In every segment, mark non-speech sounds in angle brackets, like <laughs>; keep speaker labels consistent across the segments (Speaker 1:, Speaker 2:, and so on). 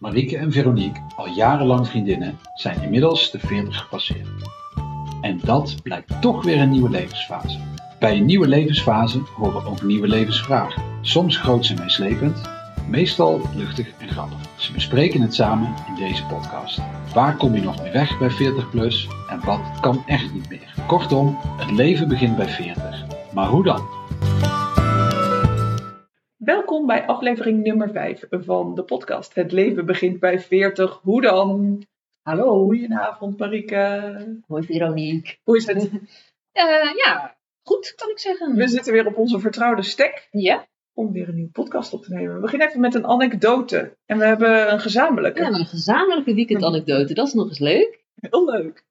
Speaker 1: Marieke en Veronique, al jarenlang vriendinnen, zijn inmiddels de 40 gepasseerd. En dat blijkt toch weer een nieuwe levensfase. Bij een nieuwe levensfase horen ook nieuwe levensvragen. Soms groots en meeslepend, meestal luchtig en grappig. Ze bespreken het samen in deze podcast. Waar kom je nog mee weg bij 40 plus en wat kan echt niet meer? Kortom, het leven begint bij 40. Maar hoe dan?
Speaker 2: Welkom bij aflevering nummer 5 van de podcast. Het leven begint bij 40. Hoe dan? Hallo, goedenavond Marieke.
Speaker 3: Hoi Veronique.
Speaker 2: Hoe is het?
Speaker 3: Eh, ja, goed kan ik zeggen.
Speaker 2: We zitten weer op onze vertrouwde stek
Speaker 3: Ja,
Speaker 2: om weer een nieuwe podcast op te nemen. We beginnen even met een anekdote. En we hebben een
Speaker 3: we
Speaker 2: gezamenlijke.
Speaker 3: hebben een gezamenlijke weekendanekdote. Dat is nog eens leuk.
Speaker 2: Heel leuk.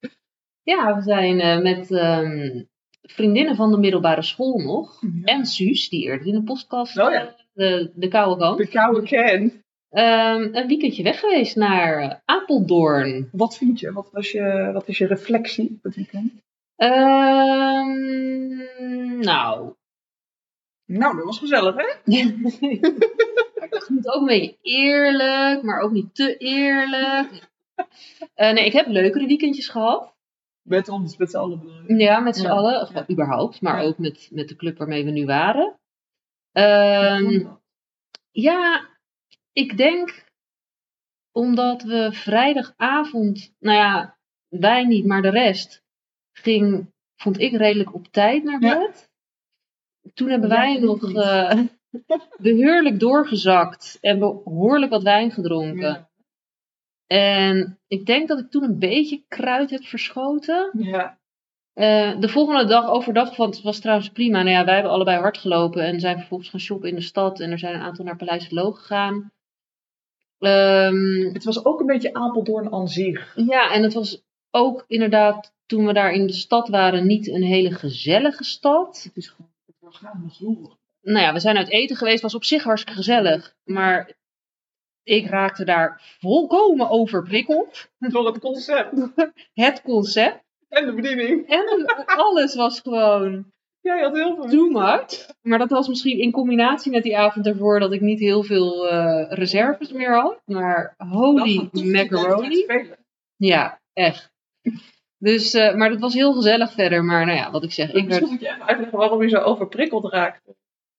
Speaker 3: Ja, we zijn eh, met ehm, vriendinnen van de middelbare school nog. En Suus, die eerder in de podcast,
Speaker 2: Oh ja.
Speaker 3: eh, de, de koude kant,
Speaker 2: De koude can.
Speaker 3: ehm, een weekendje weg geweest naar eh, Apeldoorn.
Speaker 2: Wat vind je? Wat was je, wat is je reflectie op het weekend?
Speaker 3: Ehm, nou,
Speaker 2: Nou, dat was gezellig hè?
Speaker 3: Maar ik moet ook een beetje eerlijk, maar ook niet te eerlijk. Eh, nee, ik heb leukere weekendjes gehad.
Speaker 2: Met ons, met z'n allen. bedoel ik.
Speaker 3: Ja, met z'n
Speaker 2: Ja.
Speaker 3: allen. Of wel überhaupt, maar
Speaker 2: Ja.
Speaker 3: ook met, met de club waarmee we nu waren. Ehm, ja, ik denk omdat we vrijdagavond, nou ja, wij niet, maar de rest, ging, vond ik redelijk op tijd naar
Speaker 2: Ja.
Speaker 3: bed. Toen hebben
Speaker 2: Ja,
Speaker 3: wij
Speaker 2: ik
Speaker 3: nog
Speaker 2: niet. <laughs>
Speaker 3: eh, behoorlijk doorgezakt en behoorlijk wat wijn gedronken.
Speaker 2: Ja.
Speaker 3: En ik denk dat ik toen een beetje kruid heb verschoten.
Speaker 2: Ja.
Speaker 3: Eh, de volgende dag overdag van, het was trouwens prima. Nou ja, wij hebben allebei hard gelopen en zijn vervolgens gaan shoppen in de stad. En er zijn een aantal naar Paleis het Loog gegaan. Ehm,
Speaker 2: Het was ook een beetje Apeldoorn aan zich.
Speaker 3: ja, en het was ook inderdaad toen we daar in de stad waren niet een hele gezellige stad.
Speaker 2: Het is gewoon het orgaan roer.
Speaker 3: Nou ja, we zijn uit eten geweest, was op zich hartstikke gezellig. Maar ik raakte daar volkomen overprikkeld.
Speaker 2: <laughs> Door het concept
Speaker 3: Het concept
Speaker 2: en de bediening.
Speaker 3: en alles was gewoon...
Speaker 2: Jij had heel veel.
Speaker 3: too much. Maar dat was misschien in combinatie met die avond ervoor dat ik niet heel veel eh, reserves meer had. Maar holy macaroni. Ja, echt. Dus, eh, maar dat was heel gezellig verder. Maar nou ja, wat ik zeg. Ik
Speaker 2: Ik
Speaker 3: werd,
Speaker 2: moet je even uitleggen waarom je zo overprikkeld raakt.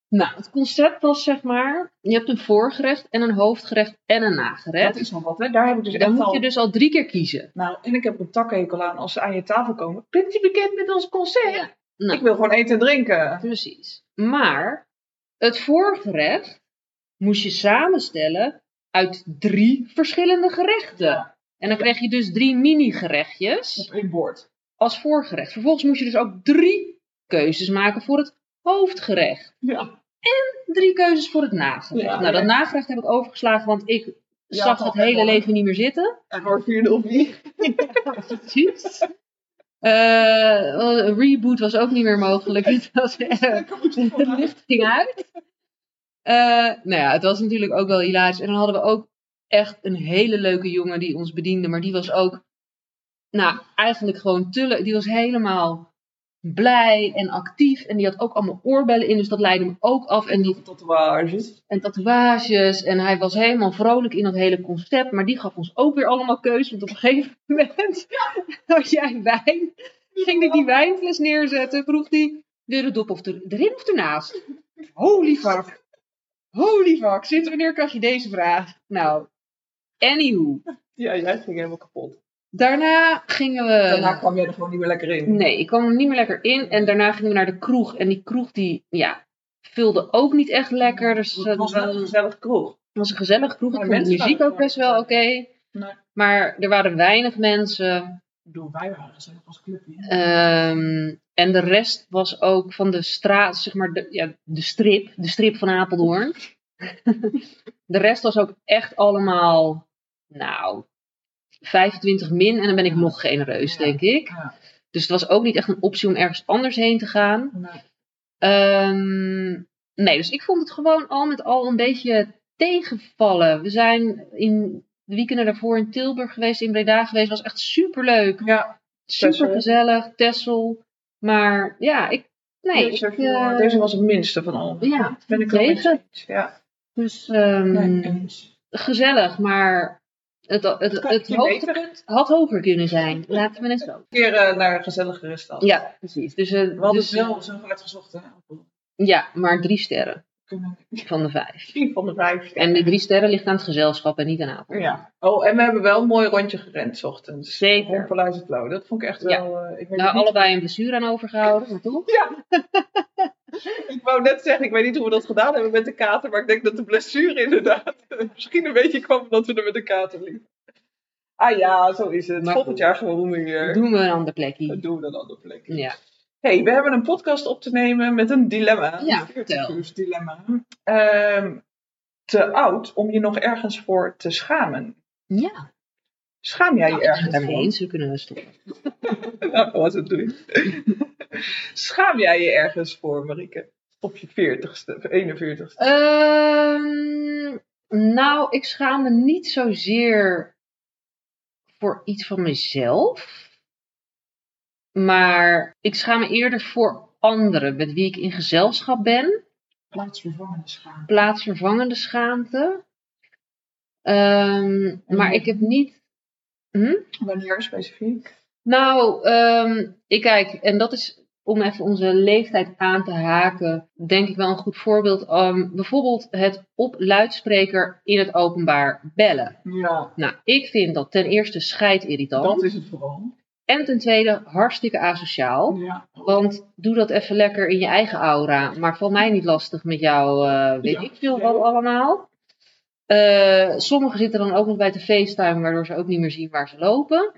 Speaker 3: nou, het concept was zeg maar, je hebt een voorgerecht en een hoofdgerecht en een nagerecht.
Speaker 2: Dat is wel wat, hè? Daar heb ik dus
Speaker 3: Dan
Speaker 2: echt
Speaker 3: moet
Speaker 2: al...
Speaker 3: je dus al drie keer kiezen.
Speaker 2: Nou, en ik heb een takhekel aan als ze aan je tafel komen. Bent u bekend met ons concert?
Speaker 3: Ja, nou.
Speaker 2: Ik wil gewoon eten en drinken.
Speaker 3: Precies. Maar het voorgerecht moest je samenstellen uit drie verschillende gerechten. En dan kreeg je dus drie mini-gerechtjes
Speaker 2: Op één bord.
Speaker 3: als voorgerecht. Vervolgens moest je dus ook drie keuzes maken voor het hoofdgerecht.
Speaker 2: Ja.
Speaker 3: Drie keuzes voor het nagerecht.
Speaker 2: Ja,
Speaker 3: nou, dat
Speaker 2: ja.
Speaker 3: nagerecht heb ik overgeslagen, want ik
Speaker 2: Ja,
Speaker 3: zag
Speaker 2: dat
Speaker 3: het
Speaker 2: wel.
Speaker 3: hele leven niet meer
Speaker 2: <laughs>
Speaker 3: zitten.
Speaker 2: En voor 404.
Speaker 3: Precies. Eh, een reboot was ook niet meer mogelijk.
Speaker 2: <laughs>
Speaker 3: Het was echt-
Speaker 2: Lekker moest het
Speaker 3: het
Speaker 2: vandaag.
Speaker 3: licht ging uit. Eh, nou ja, het was natuurlijk ook wel hilarisch. En dan hadden we ook echt een hele leuke jongen die ons bediende. Maar die was ook, nou, eigenlijk gewoon te leuk. Die was helemaal blij en actief. En die had ook allemaal oorbellen in, dus dat leidde hem ook af. <laughs> En, die,
Speaker 2: Tatoeages.
Speaker 3: en tatoeages. En hij was helemaal vrolijk in dat hele concept. Maar die gaf ons ook weer allemaal keuzes. Want op een gegeven <laughs> moment had jij wijn. Ging hij die wijnfles neerzetten, vroeg hij deurendop of er, erin of ernaast. Holy fuck. Holy fuck. Sinds wanneer krijg je deze vraag? Nou, anywho.
Speaker 2: Ja, jij ging helemaal kapot.
Speaker 3: Eh, Daarna gingen we...
Speaker 2: Daarna kwam jij er gewoon niet meer lekker in.
Speaker 3: Nee, ik kwam er niet meer lekker in. En daarna gingen we naar de kroeg. En die kroeg die, ja, vulde ook niet echt lekker. Dus
Speaker 2: Het was wel een gezellig kroeg.
Speaker 3: het was een gezellig kroeg. Ik
Speaker 2: Maar
Speaker 3: vond de
Speaker 2: mensen
Speaker 3: muziek
Speaker 2: waren
Speaker 3: ook best wel oké.
Speaker 2: Nee.
Speaker 3: Maar er waren weinig mensen.
Speaker 2: Ik bedoel, wij waren gezellig als club.
Speaker 3: Eh,
Speaker 2: hè?
Speaker 3: Ehm, en de rest was ook van de straat, zeg maar, de, ja, de strip. De strip van Apeldoorn. <laughs> de rest was ook echt allemaal, nou, 25 min. En dan ben ik nog genereus,
Speaker 2: Ja.
Speaker 3: denk ik.
Speaker 2: Ja.
Speaker 3: Dus het was ook niet echt een optie om ergens anders heen te gaan.
Speaker 2: Nee.
Speaker 3: Ehm, nee, dus ik vond het gewoon al met al een beetje tegenvallen. We zijn in de weekenden daarvoor in Tilburg geweest, in Breda geweest. was echt superleuk,
Speaker 2: Ja,
Speaker 3: supergezellig, Tessel. Maar ja, ik... Nee,
Speaker 2: deze,
Speaker 3: ik, eh,
Speaker 2: deze was het minste van al.
Speaker 3: ja,
Speaker 2: ben ik er
Speaker 3: Zeven.
Speaker 2: mee eens. Ja.
Speaker 3: dus ehm,
Speaker 2: Nee, eens.
Speaker 3: gezellig, maar Het, het, het,
Speaker 2: Kan- kun je
Speaker 3: hoogtepunt had hoger kunnen zijn. Laten we het zo.
Speaker 2: Een keer eh, naar een gezelligere stad.
Speaker 3: Ja, precies. Dus, eh,
Speaker 2: We hadden
Speaker 3: dus,
Speaker 2: het wel zo hard gezocht. Hè? We
Speaker 3: Ja, maar drie sterren
Speaker 2: kunnen
Speaker 3: van de vijf.
Speaker 2: Misschien van de vijf.
Speaker 3: En die drie sterren ligt aan het gezelschap en niet aan Apel.
Speaker 2: Ja. Oh, en we hebben wel een mooi rondje gerend 's ochtends.
Speaker 3: Zeker.
Speaker 2: Hompel uit het blauw. Dat vond ik echt
Speaker 3: Ja.
Speaker 2: wel... eh, ik, weet
Speaker 3: Nou,
Speaker 2: niet-
Speaker 3: allebei een blessure aan overgehouden, maar toch?
Speaker 2: ik wou net zeggen, ik weet niet hoe we dat gedaan hebben met de kater. Maar ik denk dat de blessure inderdaad <laughs> misschien een beetje kwam omdat we er met de kater liepen. Ah ja, zo is het.
Speaker 3: Maar
Speaker 2: Volgend
Speaker 3: goed.
Speaker 2: jaar gewoon weer.
Speaker 3: Doen we een ander
Speaker 2: Dat
Speaker 3: plekje.
Speaker 2: doen we dan andere plek.
Speaker 3: Ja.
Speaker 2: hey, we hebben een podcast op te nemen met een dilemma.
Speaker 3: Ja,
Speaker 2: Een
Speaker 3: vertel.
Speaker 2: dilemma. Ehm, te oud om je nog ergens voor te schamen.
Speaker 3: Ja,
Speaker 2: Schaam jij je
Speaker 3: het
Speaker 2: ergens
Speaker 3: is
Speaker 2: voor?
Speaker 3: eens, we kunnen wel stoppen.
Speaker 2: <laughs> Nou, was het doen. <laughs> Schaam jij je ergens voor, Marieke? Op je 40ste, of 41ste.
Speaker 3: Ehm, nou, ik schaam me niet zozeer voor iets van mezelf. Maar ik schaam me eerder voor anderen met wie ik in gezelschap ben.
Speaker 2: Plaatsvervangende schaam.
Speaker 3: Plaatsvervangende schaamte. Ehm, maar ik heb niet
Speaker 2: Wanneer specifiek?
Speaker 3: Nou, ehm, ik kijk, en dat is om even onze leeftijd aan te haken, denk ik wel een goed voorbeeld. Ehm, bijvoorbeeld het op luidspreker in het openbaar bellen.
Speaker 2: Ja,
Speaker 3: Nou, ik vind dat ten eerste scheidirritant.
Speaker 2: dat is het vooral.
Speaker 3: En ten tweede hartstikke asociaal.
Speaker 2: Ja.
Speaker 3: Want doe dat even lekker in je eigen aura. Maar val mij niet lastig met jou, eh, weet
Speaker 2: Ja.
Speaker 3: ik veel wat allemaal. Eh, sommigen zitten dan ook nog bij de FaceTime, waardoor ze ook niet meer zien waar ze lopen.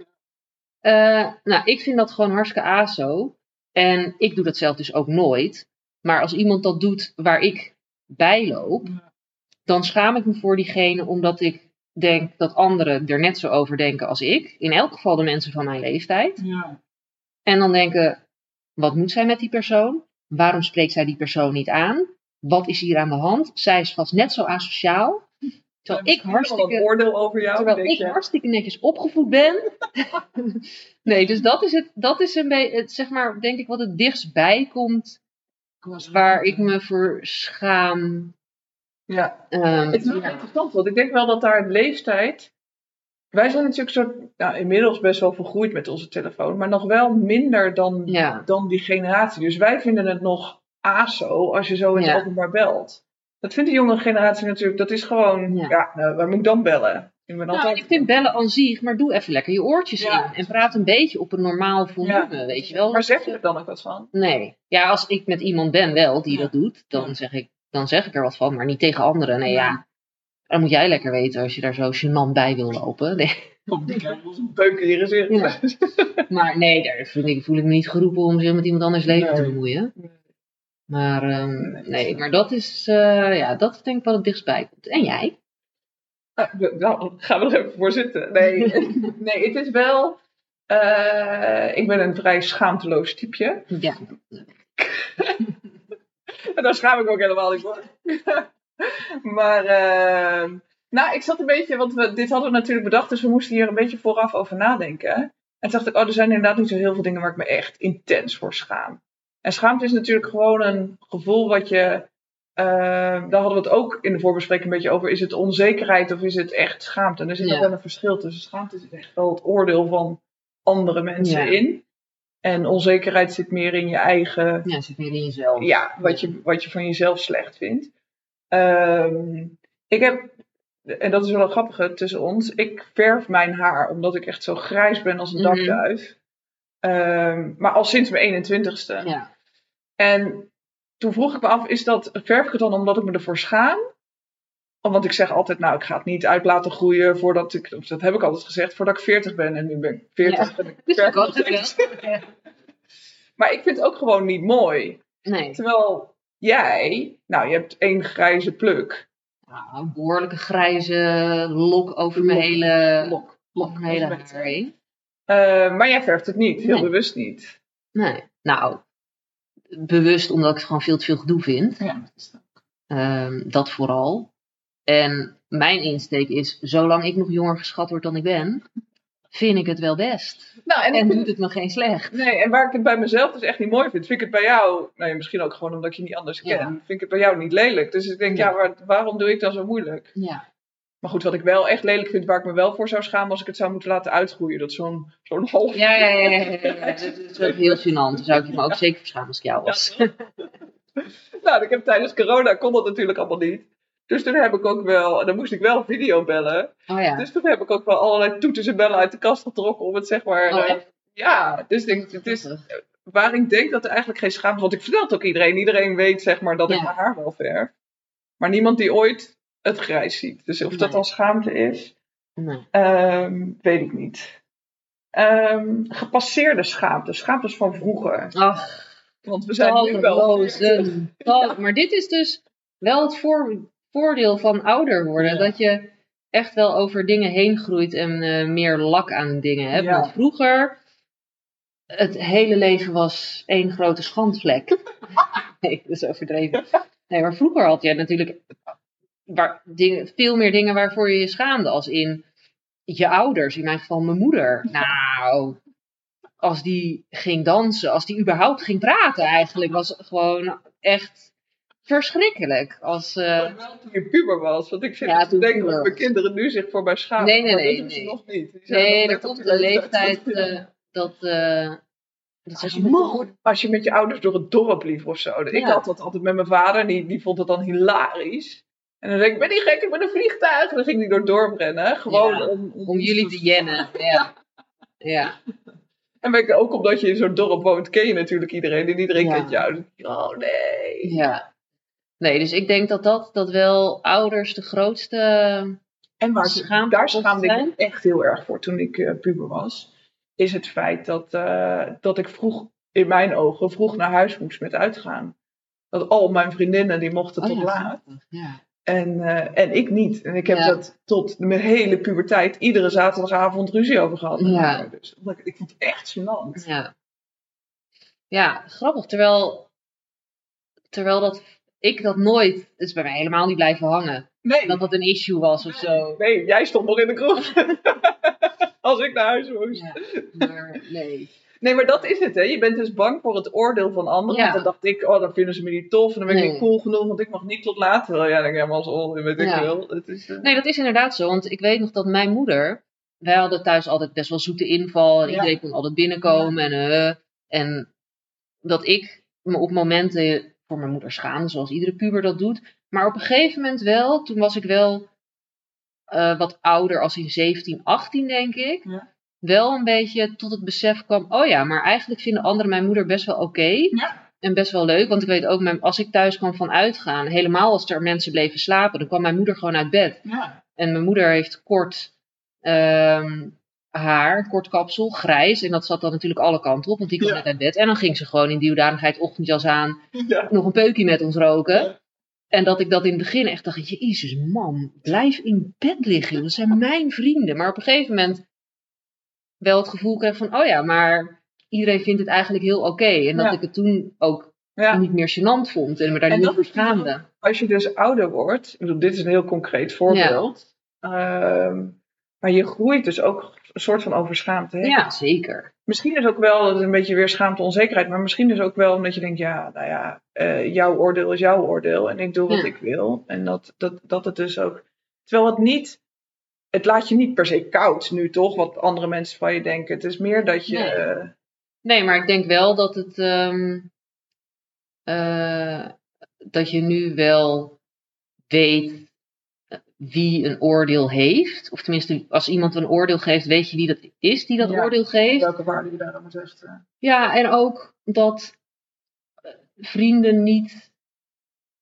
Speaker 3: Eh, nou, ik vind dat gewoon hartstikke aso. En ik doe dat zelf dus ook nooit. Maar als iemand dat doet waar ik bij loop,
Speaker 2: Ja.
Speaker 3: dan schaam ik me voor diegene omdat ik denk dat anderen er net zo over denken als ik. In elk geval de mensen van mijn leeftijd.
Speaker 2: ja.
Speaker 3: En dan denken, wat moet zij met die persoon? Waarom spreekt zij die persoon niet aan? Wat is hier aan de hand? Zij is vast net zo asociaal. Terwijl ik
Speaker 2: Een
Speaker 3: hartstikke,
Speaker 2: oordeel over jou,
Speaker 3: terwijl
Speaker 2: denk
Speaker 3: ik
Speaker 2: je.
Speaker 3: hartstikke netjes opgevoed ben. <laughs> nee, dus dat is, het, dat is een beetje, het, zeg maar, denk ik, wat het dichtst bij komt waar ik me voor schaam.
Speaker 2: Ja,
Speaker 3: Ehm,
Speaker 2: Het is wel
Speaker 3: ja.
Speaker 2: interessant, want ik denk wel dat daar een leeftijd. Wij zijn natuurlijk soort, nou, inmiddels best wel vergroeid met onze telefoon, maar nog wel minder dan,
Speaker 3: Ja.
Speaker 2: dan die generatie. Dus wij vinden het nog aso als je zo in het
Speaker 3: Ja.
Speaker 2: openbaar belt. Dat vindt de jonge generatie natuurlijk, dat is gewoon, ja,
Speaker 3: Ja.
Speaker 2: nou, waar moet ik dan bellen? Ik ben
Speaker 3: Nou,
Speaker 2: altijd-
Speaker 3: ik vind bellen aan zich, maar doe even lekker je oortjes
Speaker 2: Ja.
Speaker 3: in. En praat een beetje op een normaal volume, weet je wel.
Speaker 2: Maar zeg je er dan ook wat van?
Speaker 3: Nee. Ja, als ik met iemand ben wel die
Speaker 2: Ja.
Speaker 3: dat doet, dan
Speaker 2: Ja.
Speaker 3: zeg, ik, dan zeg ik er wat van, maar niet tegen anderen. Nee,
Speaker 2: Ja.
Speaker 3: ja. Dan moet jij lekker weten als je daar zo gênant bij wil
Speaker 2: <laughs>
Speaker 3: lopen. Nee.
Speaker 2: Kom, die krijgen ons een beuk in je gezicht.
Speaker 3: Ja. Maar nee, daar voel ik, voel ik me niet geroepen om zich met iemand anders leven te
Speaker 2: Nee.
Speaker 3: bemoeien.
Speaker 2: Nee.
Speaker 3: Maar ehm,
Speaker 2: Nee,
Speaker 3: nee,
Speaker 2: snap ik.
Speaker 3: maar dat is, eh, ja, dat is denk ik wel het dichtstbij komt. En jij?
Speaker 2: Ah, we- <laughs> Nou, gaan we er even voor zitten.
Speaker 3: <laughs>
Speaker 2: Nee, nee het is wel. eh, ik ben een vrij schaamteloos typeje.
Speaker 3: Ja.
Speaker 2: En daar schaam ik ook helemaal niet voor. <laughs> maar, ehm, nou, ik zat een beetje, want we, dit hadden we natuurlijk bedacht, dus we moesten hier een beetje vooraf over nadenken. En toen dacht ik, oh, er zijn inderdaad niet zo heel veel dingen waar ik me echt intens voor schaam. En schaamte is natuurlijk gewoon een gevoel wat je, ehm, daar hadden we het ook in de voorbespreking een beetje over, is het onzekerheid of is het echt schaamte? En er zit
Speaker 3: Ja.
Speaker 2: nog wel een verschil tussen. Schaamte zit echt wel het oordeel van andere mensen
Speaker 3: Ja.
Speaker 2: in. En onzekerheid zit meer in je eigen
Speaker 3: Ja, zit meer in jezelf.
Speaker 2: ja, wat je, wat je van jezelf slecht vindt. Ehm, ik heb, en dat is wel een grappige tussen ons, ik verf mijn haar omdat ik echt zo grijs ben als een
Speaker 3: Mhm.
Speaker 2: dakduif. Ehm, maar al sinds mijn 21ste.
Speaker 3: Ja.
Speaker 2: En toen vroeg ik me af, is dat, verf ik het dan omdat ik me ervoor schaam? Om- Want ik zeg altijd, nou, ik ga het niet uit laten groeien voordat ik, of dat heb ik altijd gezegd, voordat ik 40 ben. En nu ben ik 40 en ik
Speaker 3: Dus
Speaker 2: verf
Speaker 3: ik
Speaker 2: nog
Speaker 3: had
Speaker 2: steeds.
Speaker 3: het wel.
Speaker 2: Maar ik vind het ook gewoon niet mooi. <laughs>
Speaker 3: Nee.
Speaker 2: Terwijl jij, nou, je hebt één grijze pluk.
Speaker 3: Nou, een behoorlijke grijze lok over mijn
Speaker 2: Lok.
Speaker 3: hele,
Speaker 2: Lok.
Speaker 3: over mijn hele haar heen.
Speaker 2: Eh, maar jij verft het niet, heel
Speaker 3: Nee.
Speaker 2: bewust niet.
Speaker 3: Nee, nou, bewust omdat ik het gewoon veel te veel gedoe vind.
Speaker 2: Ja.
Speaker 3: Ehm, dat vooral. En mijn insteek is, zolang ik nog jonger geschat word dan ik ben, vind ik het wel best.
Speaker 2: Nou, en,
Speaker 3: En,
Speaker 2: ik vind
Speaker 3: doet het me geen slecht.
Speaker 2: het- nee, en waar ik het bij mezelf dus echt niet mooi vind, vind ik het bij jou, nou ja, misschien ook gewoon omdat ik je niet anders
Speaker 3: Ja.
Speaker 2: ken, vind ik het bij jou niet lelijk. Dus ik denk, ja,
Speaker 3: Ja.
Speaker 2: waar- waarom doe ik dan zo moeilijk?
Speaker 3: Ja.
Speaker 2: Maar goed, wat ik wel echt lelijk vind, waar ik me wel voor zou schamen als ik het zou moeten laten uitgroeien. Dat zo'n zo'n <laughs> half.
Speaker 3: Ja, ja, ja. ja, ja, ja. Dat is ook heel gênant. Daar zou ik me ook zeker verschamen als ik jou was.
Speaker 2: <laughs> Nou, ik heb tijdens corona kon dat natuurlijk allemaal niet. Dus toen heb ik ook wel, en dan moest ik wel video bellen.
Speaker 3: Oh ja.
Speaker 2: Dus toen heb ik ook wel allerlei toeters en bellen uit de kast getrokken om het zeg maar.
Speaker 3: Oh,
Speaker 2: eh,
Speaker 3: echt?
Speaker 2: ja, dus ik denk, het is waar ik denk dat er eigenlijk geen schaamte. Want ik vertel het ook iedereen. Iedereen weet zeg maar dat ik
Speaker 3: Ja.
Speaker 2: mijn haar wel verf. Maar niemand die ooit het grijs ziet. Dus of dat
Speaker 3: Nee.
Speaker 2: dan schaamte is,
Speaker 3: Nee.
Speaker 2: ehm, weet ik niet. Ehm, gepasseerde schaamte. Schaamtes van vroeger.
Speaker 3: Ach,
Speaker 2: Want we zijn nu
Speaker 3: Oh,
Speaker 2: wel. <laughs>
Speaker 3: talloze. tal- Maar dit is dus wel het voor- voordeel van ouder worden.
Speaker 2: Ja.
Speaker 3: Dat je echt wel over dingen heen groeit en eh, meer lak aan dingen hebt.
Speaker 2: Ja.
Speaker 3: Want vroeger, het hele leven was één grote
Speaker 2: <laughs>
Speaker 3: schandvlek. nee, dat is overdreven. Nee, maar vroeger had je natuurlijk waar, dingen, veel meer dingen waarvoor je je schaamde. Als in je ouders, in mijn geval mijn
Speaker 2: <laughs>
Speaker 3: moeder. Nou, als die ging dansen, als die überhaupt ging praten eigenlijk, was het gewoon echt verschrikkelijk. Als, eh,
Speaker 2: Wel toen je puber was. Want ik zit
Speaker 3: Ja,
Speaker 2: te
Speaker 3: toen
Speaker 2: denken dat
Speaker 3: puber
Speaker 2: mijn
Speaker 3: was.
Speaker 2: kinderen nu zich voor mij schamen.
Speaker 3: Nee, nee,
Speaker 2: maar
Speaker 3: nee,
Speaker 2: dat doen ze
Speaker 3: nee.
Speaker 2: nog niet. Die zijn nog
Speaker 3: nee,
Speaker 2: net
Speaker 3: er
Speaker 2: op
Speaker 3: komt
Speaker 2: die
Speaker 3: een
Speaker 2: <laughs>
Speaker 3: leeftijd
Speaker 2: Ja.
Speaker 3: eh, dat, eh dat
Speaker 2: Als
Speaker 3: zegt,
Speaker 2: je, met
Speaker 3: "Mam,
Speaker 2: je, als je met je ouders door het dorp liep of zo. Ik
Speaker 3: Ja.
Speaker 2: had dat altijd met mijn vader, die, die vond het dan hilarisch. En dan denk ik, ben die gek, ik ben een vliegtuig. En dan ging die door het dorp rennen, gewoon
Speaker 3: Ja,
Speaker 2: om, om,
Speaker 3: om jullie te jennen.
Speaker 2: <laughs>
Speaker 3: Ja. Ja.
Speaker 2: En weet ik, ook omdat je in zo'n dorp woont, ken je natuurlijk iedereen. En iedereen
Speaker 3: Ja.
Speaker 2: kent je ouders. Oh nee.
Speaker 3: ja. Nee, dus ik denk dat dat, dat wel ouders de grootste
Speaker 2: En waar ik,
Speaker 3: Schaamte
Speaker 2: Dus daar
Speaker 3: kost
Speaker 2: schaamde ik
Speaker 3: zijn.
Speaker 2: me echt heel erg voor toen ik eh, puber was. Is het feit dat, eh, dat ik vroeg, in mijn ogen, vroeg naar huis moest met uitgaan. Dat al mijn vriendinnen, die mochten tot
Speaker 3: Oh ja,
Speaker 2: laat.
Speaker 3: grappig, ja.
Speaker 2: En, eh, en ik niet. En ik heb
Speaker 3: Ja.
Speaker 2: dat tot mijn hele puberteit iedere zaterdagavond ruzie over gehad.
Speaker 3: Ja.
Speaker 2: Dus, omdat ik, ik vond het echt gênant.
Speaker 3: Ja. ja, grappig. Terwijl, terwijl dat, ik dat nooit, het is bij mij helemaal niet blijven hangen.
Speaker 2: Nee,
Speaker 3: Dat dat een issue was of zo.
Speaker 2: nee, jij stond nog in de kroeg. <laughs> Als ik naar huis moest.
Speaker 3: Ja, maar nee.
Speaker 2: Nee, maar dat is het, hè. Je bent dus bang voor het oordeel van anderen.
Speaker 3: Ja.
Speaker 2: Want dan dacht ik, oh, dan vinden ze me niet tof. En dan ben ik
Speaker 3: Nee.
Speaker 2: niet cool genoeg, want ik mag niet tot laat. Terwijl jij denkt, ja, maar als oordeel weet ik
Speaker 3: Ja.
Speaker 2: wel. Het is, eh,
Speaker 3: Nee, dat is inderdaad zo. Want ik weet nog dat mijn moeder. Wij hadden thuis altijd best wel zoete inval. En
Speaker 2: Ja.
Speaker 3: iedereen kon altijd binnenkomen. En, eh, en dat ik me op momenten voor mijn moeder schaamde. Zoals iedere puber dat doet. Maar op een gegeven moment wel. Toen was ik wel eh, wat ouder. Als in 17, 18 denk ik.
Speaker 2: Ja.
Speaker 3: Wel een beetje tot het besef kwam. Oh ja, maar eigenlijk vinden anderen mijn moeder best wel oké. En best wel leuk, want ik weet ook, mijn- als ik thuis kwam van uitgaan, helemaal als er mensen bleven slapen, dan kwam mijn moeder gewoon uit bed.
Speaker 2: ja. <laughs>
Speaker 3: En mijn moeder heeft kort ehm, haar, kort kapsel, grijs. En dat zat dan natuurlijk alle kanten op, want die kwam
Speaker 2: Ja.
Speaker 3: net uit bed. En dan ging ze gewoon in die hoedanigheid ochtendjas aan,
Speaker 2: Ja.
Speaker 3: nog een peukje met ons roken.
Speaker 2: Ja.
Speaker 3: En dat ik dat in het begin echt dacht, jezus man, blijf in bed liggen. joh. Dat zijn mijn vrienden. Maar op een gegeven moment wel het gevoel kreeg van, oh ja, maar iedereen vindt het eigenlijk heel oké. En dat
Speaker 2: Ja.
Speaker 3: ik het toen ook
Speaker 2: Ja.
Speaker 3: niet meer gênant vond en me daar
Speaker 2: En
Speaker 3: niet
Speaker 2: dat
Speaker 3: voor
Speaker 2: is natuurlijk
Speaker 3: schaamde.
Speaker 2: Als je dus ouder wordt, ik bedoel, dit is een heel concreet voorbeeld. ehm, maar je groeit dus ook een soort van overschaamd. Hè?
Speaker 3: Ja, zeker.
Speaker 2: Misschien is ook wel dat is een beetje weer schaamte, onzekerheid. Maar misschien is ook wel omdat je denkt, ja, nou ja, eh, jouw oordeel is jouw oordeel. En ik doe wat
Speaker 3: Ja.
Speaker 2: ik wil. En dat, dat, dat het dus ook... Terwijl het niet... Het laat je niet per se koud nu, toch? Wat andere mensen van je denken. Het is meer dat je...
Speaker 3: Nee.
Speaker 2: eh,
Speaker 3: Nee, maar ik denk wel dat het. ehm, eh, dat je nu wel weet eh, wie een oordeel heeft. Of tenminste, als iemand een oordeel geeft, weet je wie dat is die dat
Speaker 2: Ja.
Speaker 3: oordeel geeft.
Speaker 2: welke waarde je daarom eh, moet hechten.
Speaker 3: Ja, en ook dat eh, vrienden niet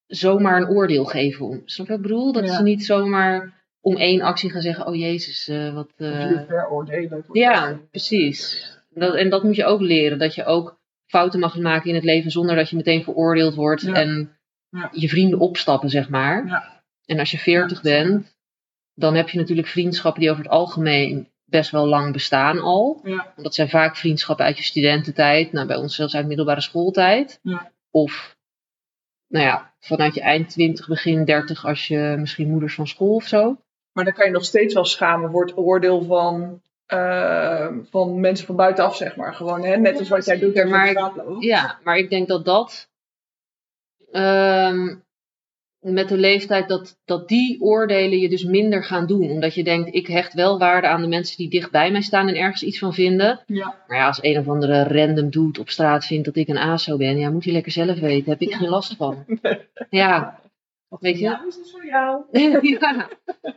Speaker 3: zomaar een oordeel geven om. Snap je wat ik bedoel? Dat
Speaker 2: Ja.
Speaker 3: ze niet zomaar om één actie gaan zeggen: Oh jezus, eh, wat.
Speaker 2: Uh,
Speaker 3: eh,
Speaker 2: je veroordelen.
Speaker 3: Ja, precies. Dat, en dat moet je ook leren. Dat je ook fouten mag maken in het leven zonder dat je meteen veroordeeld wordt
Speaker 2: Ja.
Speaker 3: en
Speaker 2: Ja.
Speaker 3: je vrienden opstappen, zeg maar.
Speaker 2: Ja.
Speaker 3: En als je veertig
Speaker 2: Ja.
Speaker 3: bent, dan heb je natuurlijk vriendschappen die over het algemeen best wel lang bestaan al.
Speaker 2: Ja.
Speaker 3: Dat zijn vaak vriendschappen uit je studententijd, nou, bij ons zelfs uit middelbare schooltijd.
Speaker 2: Ja.
Speaker 3: Of nou ja, vanuit je eind 20, begin 30 als je misschien moeders van school of zo.
Speaker 2: Maar dan kan je nog steeds wel schamen voor het oordeel van, eh, van mensen van buitenaf, zeg maar. Gewoon, hè? Net als wat jij doet. als je
Speaker 3: Maar
Speaker 2: op
Speaker 3: ik-
Speaker 2: straat loopt.
Speaker 3: Ja, maar ik denk dat dat ehm, met de leeftijd dat, dat die oordelen je dus minder gaan doen. Omdat je denkt, ik hecht wel waarde aan de mensen die dicht bij mij staan en ergens iets van vinden.
Speaker 2: Ja.
Speaker 3: Maar ja, als een of andere random dude op straat vindt dat ik een ASO ben, ja, moet hij lekker zelf weten. Heb ik geen last van. Ja. Weet je?
Speaker 2: is het voor jou? <laughs>
Speaker 3: ja.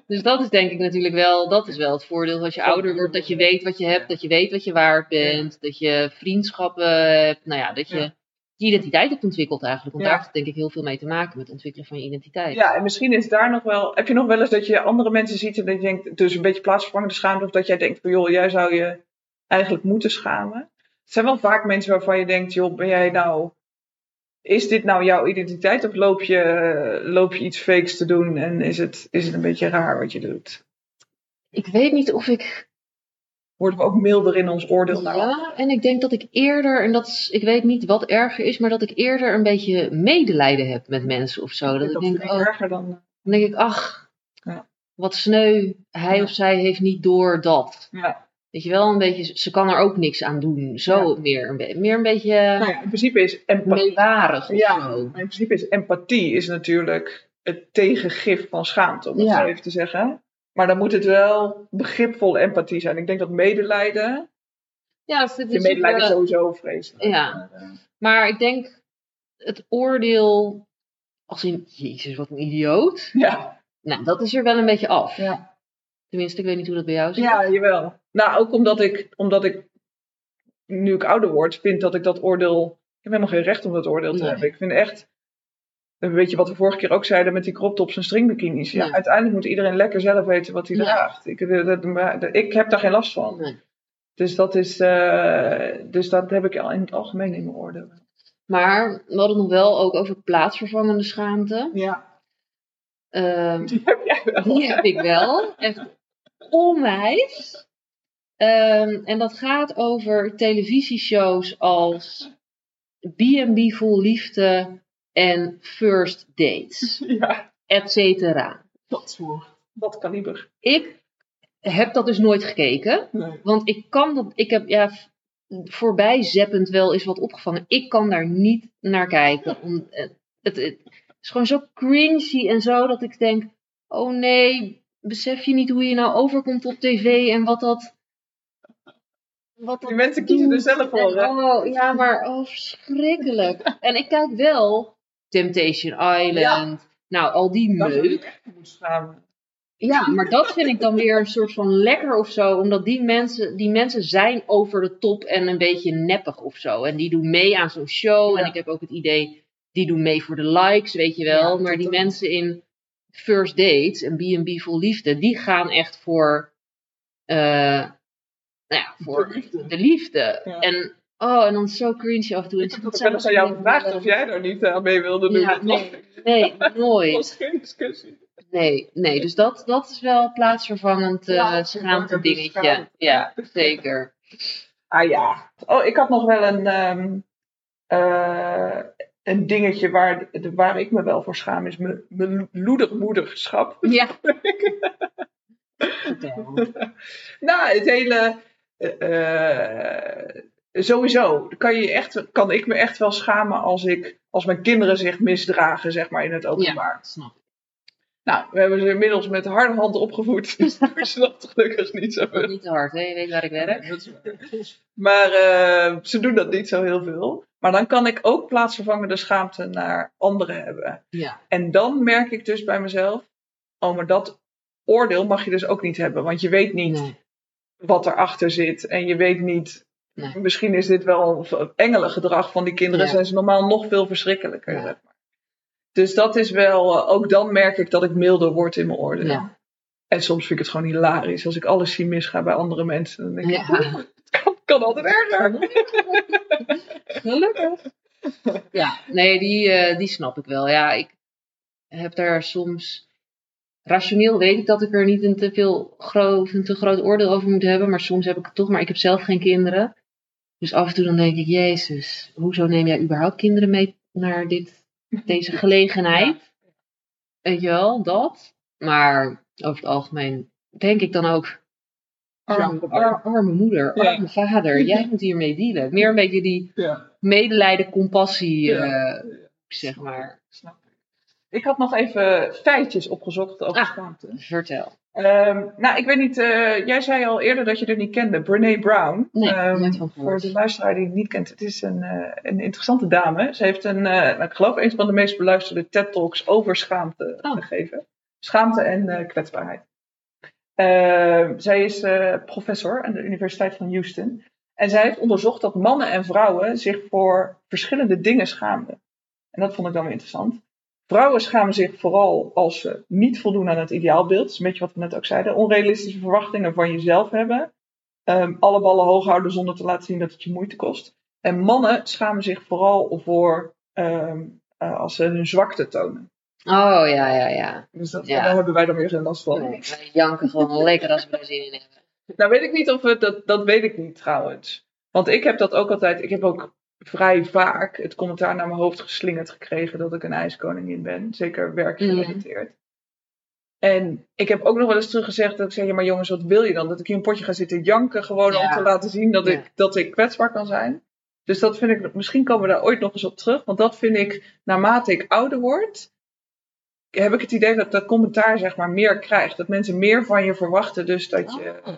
Speaker 3: Dus dat is denk ik natuurlijk wel, dat is wel het voordeel als je ouder wordt. Dat je weet wat je hebt, dat je weet wat je waard bent. Dat je vriendschappen hebt. Nou ja, dat je
Speaker 2: Ja.
Speaker 3: je identiteit hebt ontwikkeld eigenlijk. Want
Speaker 2: Ja.
Speaker 3: daar heeft het denk ik heel veel mee te maken met het ontwikkelen van je identiteit.
Speaker 2: Ja, en misschien is daar nog wel. Heb je nog wel eens dat je andere mensen ziet en dat je denkt, dus een beetje plaatsvervangende schaamte, of dat jij denkt, van, joh, jij zou je eigenlijk moeten schamen? Het zijn wel vaak mensen waarvan je denkt, joh, ben jij nou. Is dit nou jouw identiteit of loop je, eh, loop je iets fakes te doen en is het, is het een beetje raar wat je doet?
Speaker 3: Ik weet niet of ik
Speaker 2: Worden we ook milder in ons oordeel? Nou?
Speaker 3: Ja, en ik denk dat ik eerder, en dat is, ik weet niet wat erger is, maar dat ik eerder een beetje medelijden heb met mensen of zo. Dat ik
Speaker 2: dat
Speaker 3: denk,
Speaker 2: vind
Speaker 3: oh,
Speaker 2: ik erger dan.
Speaker 3: dan denk ik, ach,
Speaker 2: Ja.
Speaker 3: wat sneu, hij
Speaker 2: Ja.
Speaker 3: of zij heeft niet door dat.
Speaker 2: Ja.
Speaker 3: Weet je wel, een beetje, ze kan er ook niks aan doen. Zo meer, een be- meer een beetje
Speaker 2: Nou ja, in principe is empathie.
Speaker 3: meewarig of
Speaker 2: Ja.
Speaker 3: zo.
Speaker 2: Maar in principe is empathie is natuurlijk het tegengif van schaamte, om het
Speaker 3: Ja.
Speaker 2: zo even te zeggen. Maar dan moet het wel begripvolle empathie zijn. Ik denk dat medelijden,
Speaker 3: Ja, dat
Speaker 2: je medelijden is
Speaker 3: is
Speaker 2: sowieso vreselijk.
Speaker 3: ja.
Speaker 1: Maar, eh,
Speaker 3: Maar ik denk, het oordeel, als in, jezus, wat een idioot.
Speaker 2: Ja.
Speaker 3: Nou, dat is er wel een beetje af.
Speaker 2: Ja.
Speaker 3: Tenminste, ik weet niet hoe dat bij jou zit.
Speaker 2: ja, jawel. Nou, ook omdat ik, omdat ik, nu ik ouder word, vind dat ik dat oordeel... Ik heb helemaal geen recht om dat oordeel te
Speaker 3: Nee.
Speaker 2: hebben. Ik vind echt, weet je wat we vorige keer ook zeiden met die crop tops en stringbikinis. Ja,
Speaker 3: Ja.
Speaker 2: Uiteindelijk moet iedereen lekker zelf weten wat hij
Speaker 3: Ja.
Speaker 2: draagt. Ik, eh, dat- maar ik heb daar geen last van.
Speaker 3: Nee.
Speaker 2: Dus dat is, eh, dus dat heb ik al in het algemeen in mijn oordeel.
Speaker 3: Maar we hadden het nog wel ook over plaatsvervangende schaamte.
Speaker 2: Ja,
Speaker 3: Ehm,
Speaker 2: die heb jij wel.
Speaker 3: die heb ik wel. Echt onwijs. Ehm, en dat gaat over televisieshows als B&B Vol Liefde en First Dates,
Speaker 2: Ja,
Speaker 3: et cetera.
Speaker 2: dat soort. Dat kaliber.
Speaker 3: Ik heb dat dus nooit gekeken.
Speaker 2: Nee.
Speaker 3: Want ik kan dat, ik heb ja, v- voorbij zeppend wel eens wat opgevangen. Ik kan daar niet naar kijken. Om, eh, het, het is gewoon zo cringy en zo dat ik denk: oh nee, besef je niet hoe je nou overkomt op tv en wat dat. Wat dat
Speaker 2: Die mensen kiezen er zelf voor, hè?
Speaker 3: en, oh, ja, maar oh, verschrikkelijk. en ik kijk wel Temptation Island. Nou, al die
Speaker 2: Daar zou
Speaker 3: meuk.
Speaker 2: ik echt voor moeten schamen.
Speaker 3: Ja, maar dat vind ik dan weer een soort van lekker of zo. Omdat die mensen, die mensen zijn over de top en een beetje neppig of zo. En die doen mee aan zo'n show. En
Speaker 2: Ja.
Speaker 3: ik heb ook het idee, die doen mee voor de likes, weet je wel.
Speaker 2: Ja,
Speaker 3: maar die
Speaker 2: totaal.
Speaker 3: mensen in First Dates en B&B Vol Liefde, die gaan echt voor, eh, nou ja, voor
Speaker 2: De liefde.
Speaker 3: de liefde.
Speaker 2: Ja.
Speaker 3: En, oh, en dan zo cringe af en toe. En
Speaker 2: Ik heb
Speaker 3: dat
Speaker 2: ook
Speaker 3: zijn
Speaker 2: wel eens aan jou
Speaker 3: allemaal
Speaker 2: gevraagd of jij daar niet aan mee wilde doen.
Speaker 3: Ja,
Speaker 2: Dat was-
Speaker 3: Nee,
Speaker 2: dat
Speaker 3: nooit.
Speaker 2: was geen discussie.
Speaker 3: Nee, nee, dus dat, dat is wel plaatsvervangend eh
Speaker 2: Ja,
Speaker 3: schaamte
Speaker 2: dat is
Speaker 3: dingetje.
Speaker 2: schaamte.
Speaker 3: Ja, zeker.
Speaker 2: Ah ja. Oh, ik had nog wel een, ehm, eh, een dingetje waar, waar ik me wel voor schaam, is mijn- mijn loedermoederschap.
Speaker 3: Ja.
Speaker 2: Nou, het hele. eh, eh, sowieso kan, je echt, kan ik me echt wel schamen als, ik, als mijn kinderen zich misdragen, zeg maar, in het openbaar.
Speaker 3: Snap ik.
Speaker 2: Nou, we hebben ze inmiddels met harde hand opgevoed. Dus dat is dat gelukkig niet zo.
Speaker 3: Ook niet te hard, hè? Je weet waar ik werk.
Speaker 2: Maar eh, ze doen dat niet zo heel veel. Maar dan kan ik ook plaatsvervangende schaamte naar anderen hebben.
Speaker 3: Ja.
Speaker 2: En dan merk ik dus bij mezelf: oh, maar dat oordeel mag je dus ook niet hebben. Want je weet niet
Speaker 3: Nee.
Speaker 2: wat erachter zit. En je weet niet.
Speaker 3: Nee.
Speaker 2: Misschien is dit wel engelengedrag van die kinderen.
Speaker 3: Ja.
Speaker 2: Zijn ze normaal nog veel verschrikkelijker.
Speaker 3: Ja.
Speaker 2: zeg maar. Dus dat is wel. eh, Ook dan merk ik dat ik milder word in mijn oordeel.
Speaker 3: Ja.
Speaker 2: En soms vind ik het gewoon hilarisch. Als ik alles zie misgaan bij andere mensen. Dan denk ik,
Speaker 3: Ja.
Speaker 2: <laughs> het kan, kan altijd erger.
Speaker 3: <laughs> Gelukkig. Ja, nee, die, eh, die snap ik wel. Ja, ik heb daar soms. Rationeel weet ik dat ik er niet een te, veel groot, een te groot oordeel over moet hebben, maar soms heb ik het toch. Maar ik heb zelf geen kinderen. Dus af en toe dan denk ik, Jezus, hoezo neem jij überhaupt kinderen mee naar dit, deze gelegenheid? Weet je wel, dat. Maar over het algemeen denk ik dan ook, arme, ar- arme moeder,
Speaker 2: Ja.
Speaker 3: arme vader, jij moet hiermee dealen. Meer een beetje die
Speaker 2: Ja,
Speaker 3: medelijden, compassie,
Speaker 2: Ja.
Speaker 3: eh, zeg maar.
Speaker 2: snap ik. Ik had nog even feitjes opgezocht over
Speaker 3: Ah.
Speaker 2: schaamte.
Speaker 3: Vertel.
Speaker 2: Ehm, nou, ik weet niet, eh, jij zei al eerder dat je dit niet kende, Brene Brown.
Speaker 3: Nee,
Speaker 2: Ehm,
Speaker 3: nooit van
Speaker 2: voor
Speaker 3: gehoord.
Speaker 2: de luisteraar die het niet kent, het is een, eh, een interessante dame. Ze heeft een, eh, nou, ik geloof, een van de meest beluisterde TED-talks over schaamte
Speaker 3: Oh.
Speaker 2: gegeven. Schaamte en eh, kwetsbaarheid. Ehm, zij is eh, professor aan de Universiteit van Houston. En zij heeft onderzocht dat mannen en vrouwen zich voor verschillende dingen schaamden. En dat vond ik dan weer interessant. Vrouwen schamen zich vooral als ze niet voldoen aan het ideaalbeeld. Dat is een beetje wat we net ook zeiden. Onrealistische verwachtingen van jezelf hebben. Ehm, alle ballen hoog houden zonder te laten zien dat het je moeite kost. En mannen schamen zich vooral voor ehm, eh, als ze hun zwakte tonen.
Speaker 3: Oh ja, ja, ja.
Speaker 2: Dus dat,
Speaker 3: Ja.
Speaker 2: daar hebben wij dan weer geen last van.
Speaker 3: Nee, wij janken gewoon lekker als we er zin in hebben.
Speaker 2: Nou weet ik niet of het, dat, dat weet ik niet trouwens. Want ik heb dat ook altijd, ik heb ook vrij vaak het commentaar naar mijn hoofd geslingerd gekregen dat ik een ijskoningin ben.
Speaker 3: Mhm.
Speaker 2: Zeker werkgerelateerd. En ik heb ook nog wel eens teruggezegd dat ik zei, ja maar jongens, wat wil je dan? Dat ik hier een potje ga zitten janken gewoon om
Speaker 3: Ja.
Speaker 2: te laten zien dat,
Speaker 3: Ja.
Speaker 2: ik, dat ik kwetsbaar kan zijn. Dus dat vind ik, misschien komen we daar ooit nog eens op terug. Want dat vind ik, naarmate ik ouder word, heb ik het idee dat dat commentaar zeg maar meer krijgt. Dat mensen meer van je verwachten. Dus dat je,
Speaker 3: Oh.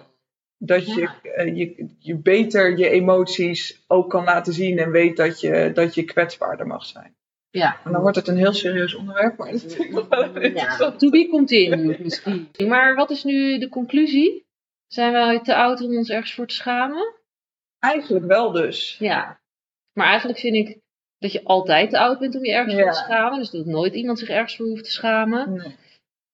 Speaker 2: dat je, eh, je, je beter je emoties ook kan laten zien en weet dat je, dat je kwetsbaarder mag zijn.
Speaker 3: Ja.
Speaker 2: En dan wordt het een heel serieus onderwerp, maar dat vind ik nog wel even
Speaker 3: ja.
Speaker 2: interessant.
Speaker 3: To be continued misschien. Maar wat is nu de conclusie? Zijn we te oud om ons ergens voor te schamen?
Speaker 2: Eigenlijk wel dus.
Speaker 3: Ja. Maar eigenlijk vind ik dat je altijd te oud bent om je ergens voor
Speaker 2: Ja.
Speaker 3: te schamen. Dus dat nooit iemand zich ergens voor hoeft te schamen.
Speaker 2: Nee.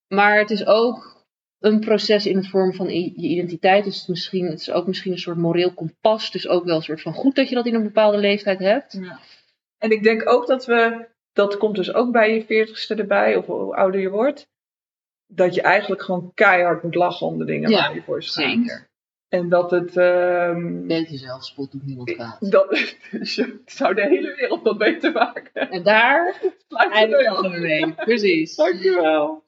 Speaker 3: Maar het is ook een proces in het vorm van i- je identiteit. Dus het, is misschien, het is ook misschien een soort moreel kompas. Dus ook wel een soort van goed dat je dat in een bepaalde leeftijd hebt.
Speaker 2: En ik denk ook dat we, dat komt dus ook bij je veertigste erbij, of hoe ouder je wordt, dat je eigenlijk gewoon keihard moet lachen om de dingen
Speaker 3: Ja,
Speaker 2: waar je voor je schaamt. En dat het, ehm,
Speaker 3: Beetje zelfspot doet niemand kwaad.
Speaker 2: dat, <laughs> dus je zou de hele wereld wat beter maken.
Speaker 3: En <laughs> daar
Speaker 2: Sluit je
Speaker 3: eindigt
Speaker 2: deur.
Speaker 3: het mee. Precies.
Speaker 2: Dankjewel.